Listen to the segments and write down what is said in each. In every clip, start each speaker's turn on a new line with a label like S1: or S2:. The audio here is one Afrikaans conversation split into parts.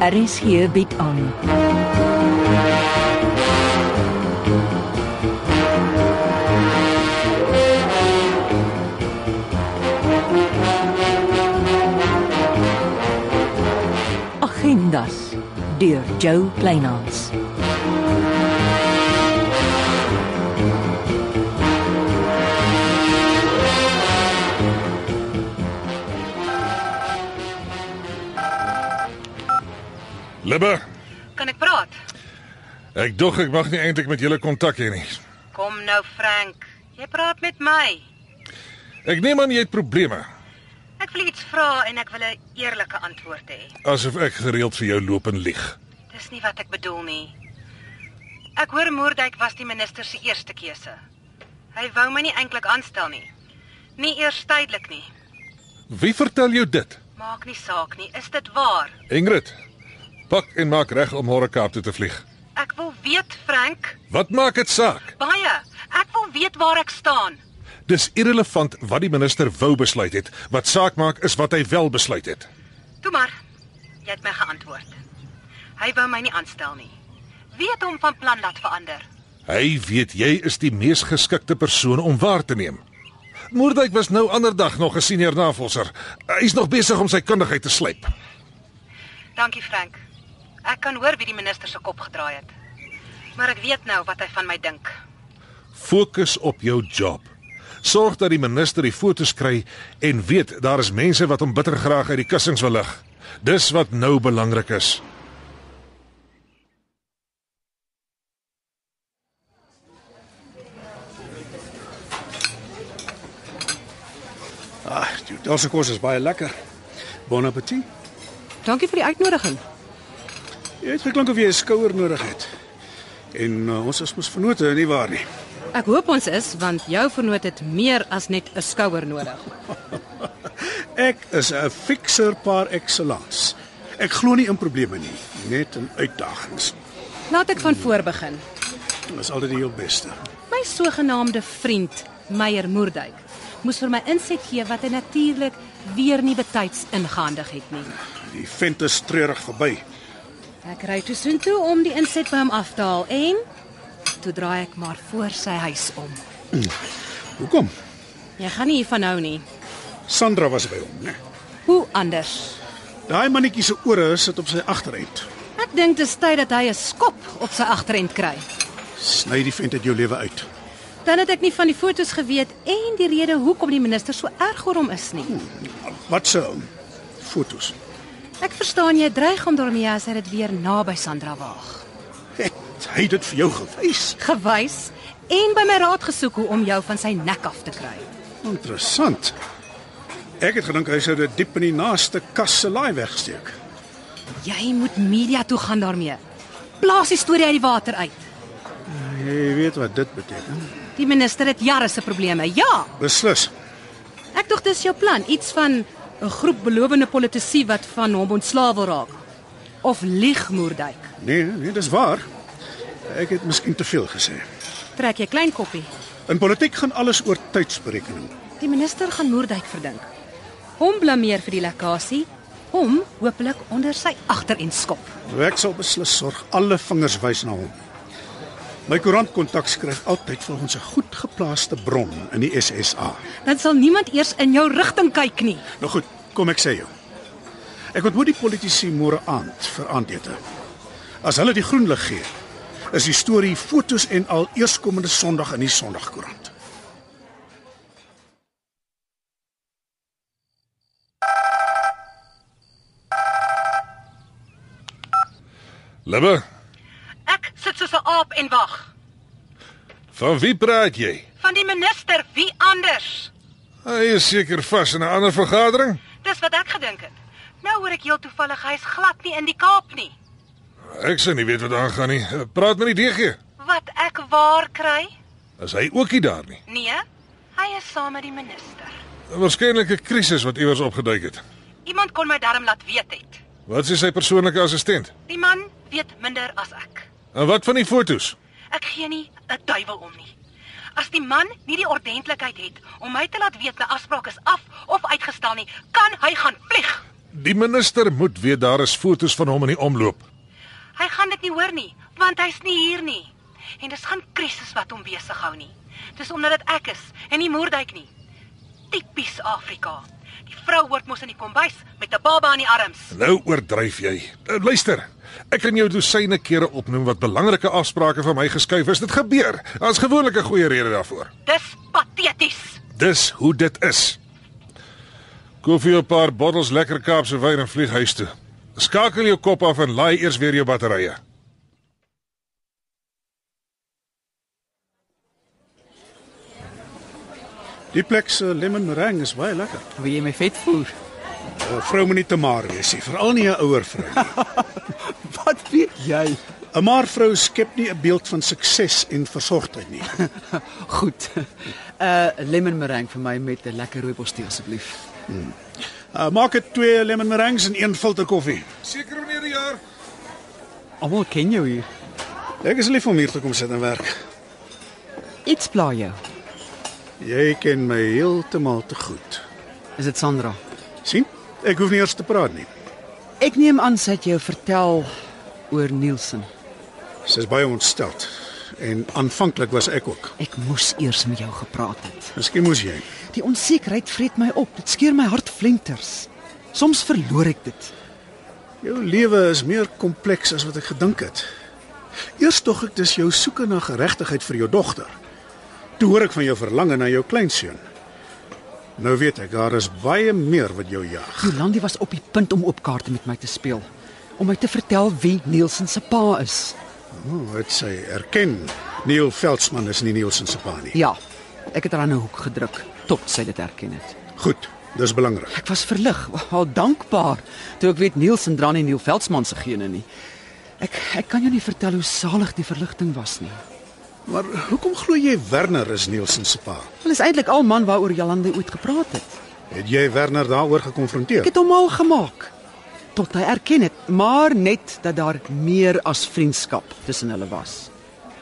S1: RSG bied aan. Agendas deur Jo Kleinhans.
S2: Libbe,
S3: Kan ek praat?
S2: ek dog ek mag nie eintlik met julle kontak hê nie.
S3: Kom nou Frank, jy praat met my.
S2: Ek neem aan jy het probleme,
S3: Ek wil iets vra en ek wil 'n eerlike antwoord hê.
S2: asof ek gereeld vir jou loop en lieg.
S3: Dis nie wat ek bedoel nie. Ek hoor Moerdijk was die minister se eerste keuse. Hy wou my nie eintlik aanstel nie. Nie eers tydelik nie.
S2: Wie vertel jou dit?
S3: Maak nie saak nie, is dit waar?
S2: Ingrid, pak en maak reg om môre Kaap toe te vlieg.
S3: Ek wil weet Frank,
S2: Wat maak dit saak?
S3: baie. Ek wil weet waar ek staan.
S2: Dis irrelevant wat die minister wou besluit het. Wat saak maak is wat hy wel besluit het.
S3: Toe maar. Jy het my geantwoord. Hy wou my nie aanstel nie. Wie het hom van plan laat verander?
S2: Hy weet jy is die mees geskikte persoon om waar te neem. Moordwyk was nou ander dag nog 'n senior navorser. Hy's nog besig om sy kundigheid te slyp.
S3: Dankie Frank. Ek kan hoor wie die minister se kop gedraai het. Maar ek weet nou wat hy van my dink.
S2: Fokus op jou job. Sorg dat die minister die fotos kry en weet daar is mense wat hom bitter graag uit die kussings wil lig. Dis wat nou belangrik is.
S4: Ah, die hotel se kos is baie lekker. Bon appétit.
S5: Dankie vir die uitnodiging.
S4: Jy het geklink of jy 'n skouer nodig het. En uh, ons is mos vennote, nie waar nie?
S5: Ek hoop ons is want jou vernoot het meer as net 'n skouer nodig.
S4: Ek is 'n fixer par excellence. Ek glo nie in probleme nie, net in uitdagings.
S5: Laat ek van voor begin.
S4: Dit is altyd die heel beste.
S5: My sogenaamde vriend Meyer Moerdijk moes vir my inset gee wat hy natuurlik weer nie betyds ingehandig het nie.
S4: Die vent is treurig verby.
S5: Ek ry toe soontoe om die inset by hom af te haal en toe draai ek maar voor sy huis om.
S4: Hoekom?
S5: Jy gaan nie hiervan hou nie.
S4: Sandra was by hom, né?
S5: Hoe anders?
S4: Daai mannetjie se ore sit op sy agterend.
S5: Ek dink dit is tyd dat hy 'n skop op sy agterend kry.
S4: Sny die vent uit jou lewe uit.
S5: Dan het ek nie van die fotos geweet en die rede hoekom die minister so erg oor hom is nie.
S4: Wat se hom? Fotos.
S5: Ek verstaan jy dreig om daarmee as hy dit weer naby Sandra waag.
S4: Het hy dit vir jou gewys?
S5: Gewys en by my raad gesoek hoe om jou van sy nek af te kry.
S4: Interessant. Ek het gedink hy sou dit diep in die naaste kas se laai wegsteek.
S5: Jy moet media toe gaan daarmee. Plaas die storie uit die water uit.
S4: Jy weet wat dit beteken.
S5: Die minister het jare se probleme. Ja,
S4: Beslis.
S5: ek dink dis jou plan, iets van 'n groep belowende politici wat van hom ontslaaw wil raak. Of lieg Moerdijk.
S4: Nee, nee, dis waar. Ek het miskien te veel gesê.
S5: Trek jy klein koppie.
S4: In politiek gaan alles oor tydsberekening.
S5: Die minister gaan Moerdijk verdink. Hom blameer vir die lekkasie, hom hopelik onder sy agter en skop.
S4: Ek sal beslis sorg alle vingers wys na hom. My koerantkontak skryf altyd volgens 'n goed geplaaste bron in die SSA.
S5: Dan sal niemand eers in jou rigting kyk nie.
S4: Nou goed, kom ek sê jou. Ek ontmoet die politici môre aand vir aandete. As hulle die groen lig gee, is die storie fotos en al eerskomende Sondag in die Sondagkoerant.
S2: Libbe,
S3: Ek sit soos 'n aap en wag.
S2: van wie praat jy?
S3: Van die minister, wie anders?
S2: Hy is seker vas in 'n ander vergadering.
S3: Dis wat ek gedink het. Nou hoor ek heel toevallig hy's glad nie in die Kaap nie.
S2: Ek sou nie weet wat aangaan nie. Eh, Praat met die DG.
S3: Wat ek waar kry?
S2: Is hy ook nie daar nie?
S3: Nee, hy is saam met die minister.
S2: Waarskynlik 'n krisis wat iewers opgeduik het.
S3: Iemand kon my darm laat weet het.
S2: Wat sê sy persoonlike assistent?
S3: Die man weet minder as ek.
S2: En wat van die fotos?
S3: Ek gee nie 'n duiwel om nie. As die man nie die ordentlikheid het om my te laat weet 'n afspraak is af of uitgestel nie, kan hy gaan vlieg.
S2: Die minister moet weet daar is fotos van hom in die omloop.
S3: Hy gaan dit nie hoor nie, want hy's nie hier nie. En dis gaan krisis wat hom besig hou nie. Dis omdat dit ek is en nie Moerdijk nie. Tipies Afrika. Die vrou word mos in die kombuis met 'n baba in die arms.
S2: Nou oordryf jy. Uh, luister. Ek kan jou dosyne kere opnoem wat belangrike afsprake van my geskuif is. Dit gebeur. Daar's gewoonlik 'n goeie rede daarvoor.
S3: Dis pateties.
S2: Dis hoe dit is. Koop vir jou 'n paar bottels lekker Kaapse wyn en vlieg huis toe. Skakel jou kop af en laai eers weer jou batterye.
S4: Die plek se lemon meringue is baie lekker.
S6: Wil jy my vet voer?
S4: 'n Vrou moet nie te maar wees nie, veral nie 'n ouer vrou. nie.
S6: Wat weet jy?
S4: 'n Maar vrou skep nie 'n beeld van sukses en versorgdheid nie.
S6: Goed. 'n uh, Lemon meringue vir my met 'n lekker rooibostee asseblief.
S4: Uh, maak dit twee lemon meringues en een filter koffie.
S2: Seker meneer die jaar.
S6: Almal ken jou hier.
S4: Ek is lief om hier te kom sit en werk.
S6: Iets pla jou.
S4: Jy ken my heeltemal te goed.
S6: Is dit Sandra?
S4: sien? Ek hoef nie eers te praat nie.
S6: Ek neem aan sy het jou vertel oor Nielsen.
S4: Sy is baie ontstel en aanvanklik was ek ook.
S6: Ek moes eers met jou gepraat het.
S4: Miskien moes jy.
S6: Die onsekerheid vreet my op. Dit skeer my hart flenters. Soms verloor ek dit.
S4: Jou lewe is meer kompleks as wat ek gedink het. Eers tog ek dis jou soeke na geregtigheid vir jou dogter. Toe hoor ek van jou verlange na jou kleinseun. Nou weet ek daar is baie meer wat jou jag.
S6: Jolandi was op die punt om oop kaarte met my te speel, om my te vertel wie Nielsen se pa is.
S4: Oh, dit sê erken. Neil Veldsmann is nie Nielsen se pa nie.
S6: Ja, ek het haar aan 'n hoek gedruk tot sy dit erken het.
S4: Goed, dis belangrik.
S6: Ek was verlig, al dankbaar toe ek weet Nielsen dra nie Neil Veldsmann se gene nie. Ek ek kan jou nie vertel hoe salig die verligting was nie.
S4: Maar hoekom glo jy Werner is Nielsen se pa?
S6: Hulle is eintlik al man waaroor Jolande ooit gepraat het.
S4: Het jy Werner daaroor gekonfronteer?
S6: Ek het hom al gemaak tot hy erken het, maar net dat daar meer as vriendskap tussen hulle was.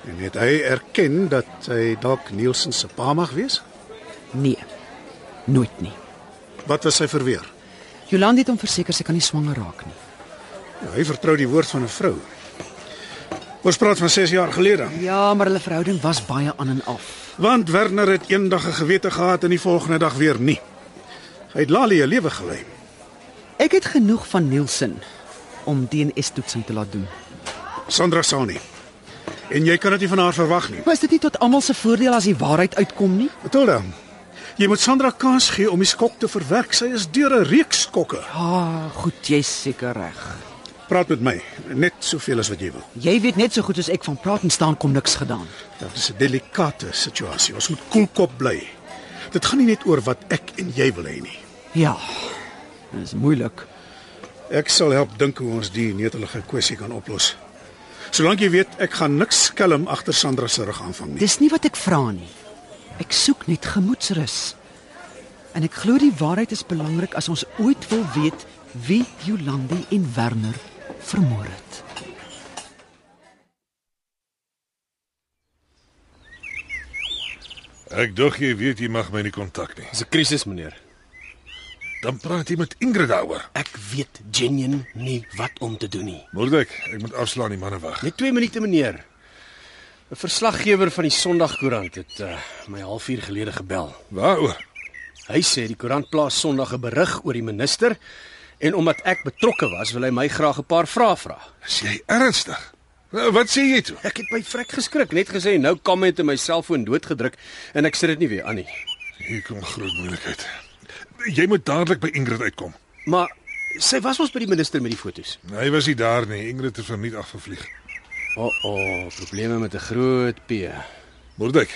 S4: En het hy erken dat hy dalk Nielsen se pa mag wees?
S6: Nee. Nooit nie.
S4: Wat was sy verweer?
S6: Jolande het hom verseker sy kan nie swanger raak nie.
S4: Ja, hy vertrou die woord van 'n vrou. Ons praat van 6 jaar gelede.
S6: Ja, maar hulle verhouding was baie aan en af.
S4: Want Werner het eendag 'n gewete gehad en die volgende dag weer nie. Hy het Lali 'n lewe gelei.
S6: Ek het genoeg van Nielsen om DNA-toetsing te laat doen.
S4: Sandra Sani. En jy kan dit nie van haar verwag nie.
S6: Maar is dit nie tot almal se voordeel as die waarheid uitkom nie?
S4: Matilda, jy moet Sandra kans gee om die skok te verwerk. Sy is deur 'n reeks skokke.
S6: Ah, goed, jy's seker reg.
S4: Praat met my, net soveel as wat jy wil.
S6: Jy weet net so goed as ek van praat en staan kom niks gedaan.
S4: Dit is 'n delikate situasie. Ons moet koelkop bly. Dit gaan nie net oor wat ek en jy wil hê nie.
S6: Ja. Dit is moeilik.
S4: Ek sal help dink hoe ons die netelige kwessie kan oplos. Solank jy weet ek gaan niks skelm agter Sandra se rug aanvang nie.
S6: Dis nie wat ek vra nie. Ek soek net gemoedsrus. En ek glo die waarheid is belangrik as ons ooit wil weet wie Jolandi en Werner vermoor het.
S2: Ek dink jy weet jy mag my nie kontak nie.
S7: Dis 'n krisis, meneer.
S2: Dan praat jy met Ingrid daaroor.
S7: Ek weet genuen nie wat om te doen nie.
S2: Moordek, ek moet afslaan die manne weg.
S7: Net 2 minute, meneer. 'n Verslaggewer van die Sondagkoerant het uh, my halfuur gelede gebel.
S2: Waaroor?
S7: Hy sê die koerant plaas Sondag 'n berig oor die minister en omdat ek betrokke was, wil hy my graag 'n paar vrae vra.
S2: Is jy ernstig? Nou, Wat sê jy toe?
S7: Ek het my vrek geskrik, net gesê nou kom dit in my selfoon doodgedruk en ek sit dit nie weer aan nie.
S2: Hier kom groot moeilikheid. Jy moet dadelik by Ingrid uitkom.
S7: Maar sy was ons by die minister met die fotos.
S2: Hy was nie daar nie. Ingrid het verniet afgevlieg.
S7: O, oh, oh, probleme met 'n groot P.
S2: Moordek.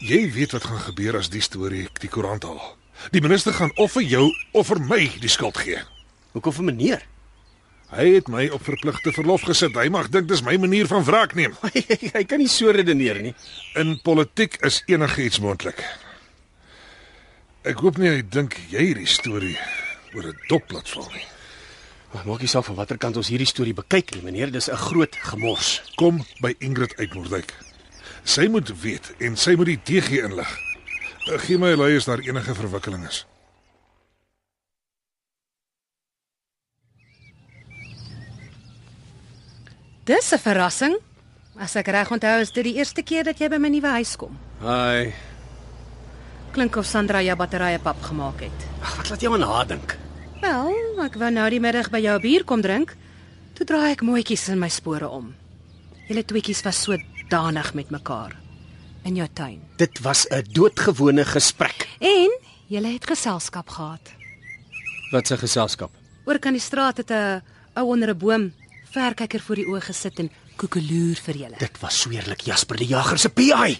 S2: Jy weet wat gaan gebeur as die storie die koerant haal. Die minister gaan of vir jou of vir my die skuld gee.
S7: Hoekom vir meneer?
S2: Hy het my op verpligte verlof gesit. Hy mag dink dis my manier van wraak neem.
S7: hy kan nie so redeneer nie.
S2: In politiek is enigiets moontlik. Ek hoop nie hy dink jy hierdie storie oor 'n dopplat val nie.
S7: Maar maak nie saak van watter kant ons hierdie storie bekyk nie, meneer, dis 'n groot gemors.
S2: Kom by Ingrid uit Moerdijk. Sy moet weet en sy moet die DG inlig. Eh, Gee my 'n lui as daar enige verwikkeling is.
S5: Dis 'n verrassing. As ek reg onthou, is dit die eerste keer dat jy by my nuwe huis kom.
S7: Hi.
S5: Klink of Sandra jou batterye pap gemaak het.
S7: Ag, wat laat jou aan haar dink?
S5: Wel, ek wou nou die middag by jou 'n bier kom drink. Toe draai ek mooietjies in my spore om. Julle tweetjies was so danig met mekaar in jou tuin.
S7: Dit was 'n doodgewone gesprek.
S5: En julle het geselskap gehad.
S7: Wat 'n geselskap.
S5: Oor kan die straat het 'n ou onder 'n boom verkyker voor die oë gesit en koekeloer vir julle.
S7: Dit was sweerlik Jasper die Jager se PI.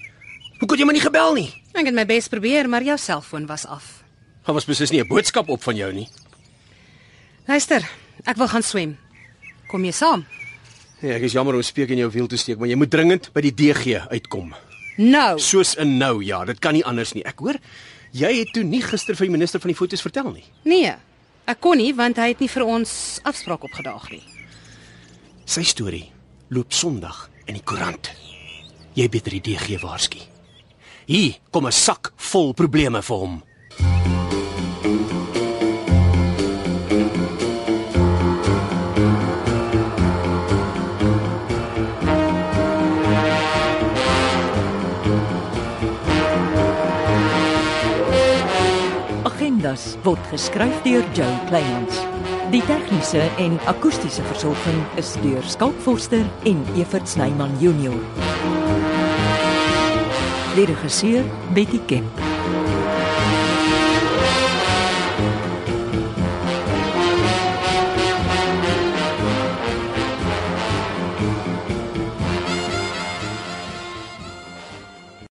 S7: Hoe kon jy my nie gebel nie?
S5: Ek het my bes probeer, maar jou selfoon was af.
S7: Daar was beslis nie 'n boodskap op van jou nie.
S5: Luister, ek wil gaan swem. Kom jy saam?
S7: Nee, ek is jammer om speek in jou wiel te steek, maar jy moet dringend by die DG uitkom.
S5: Nou.
S7: Soos in nou, ja, dit kan nie anders nie. Ek hoor jy het toe nie gister vir die minister van die fotos vertel nie.
S5: Nee. Ek kon nie want hy het nie vir ons afspraak opgedaag nie.
S7: Sy storie loop Sondag in die koerant. Jy beter die DG waarsku. Hier kom 'n sak vol probleme vir hom.
S1: Agendas word geskryf deur Joe Kleinhans. Die tegniese en akoestiese versorging is deur Skalk Forster en Evert Snyman Junior. Lede geseer Betty Kemp.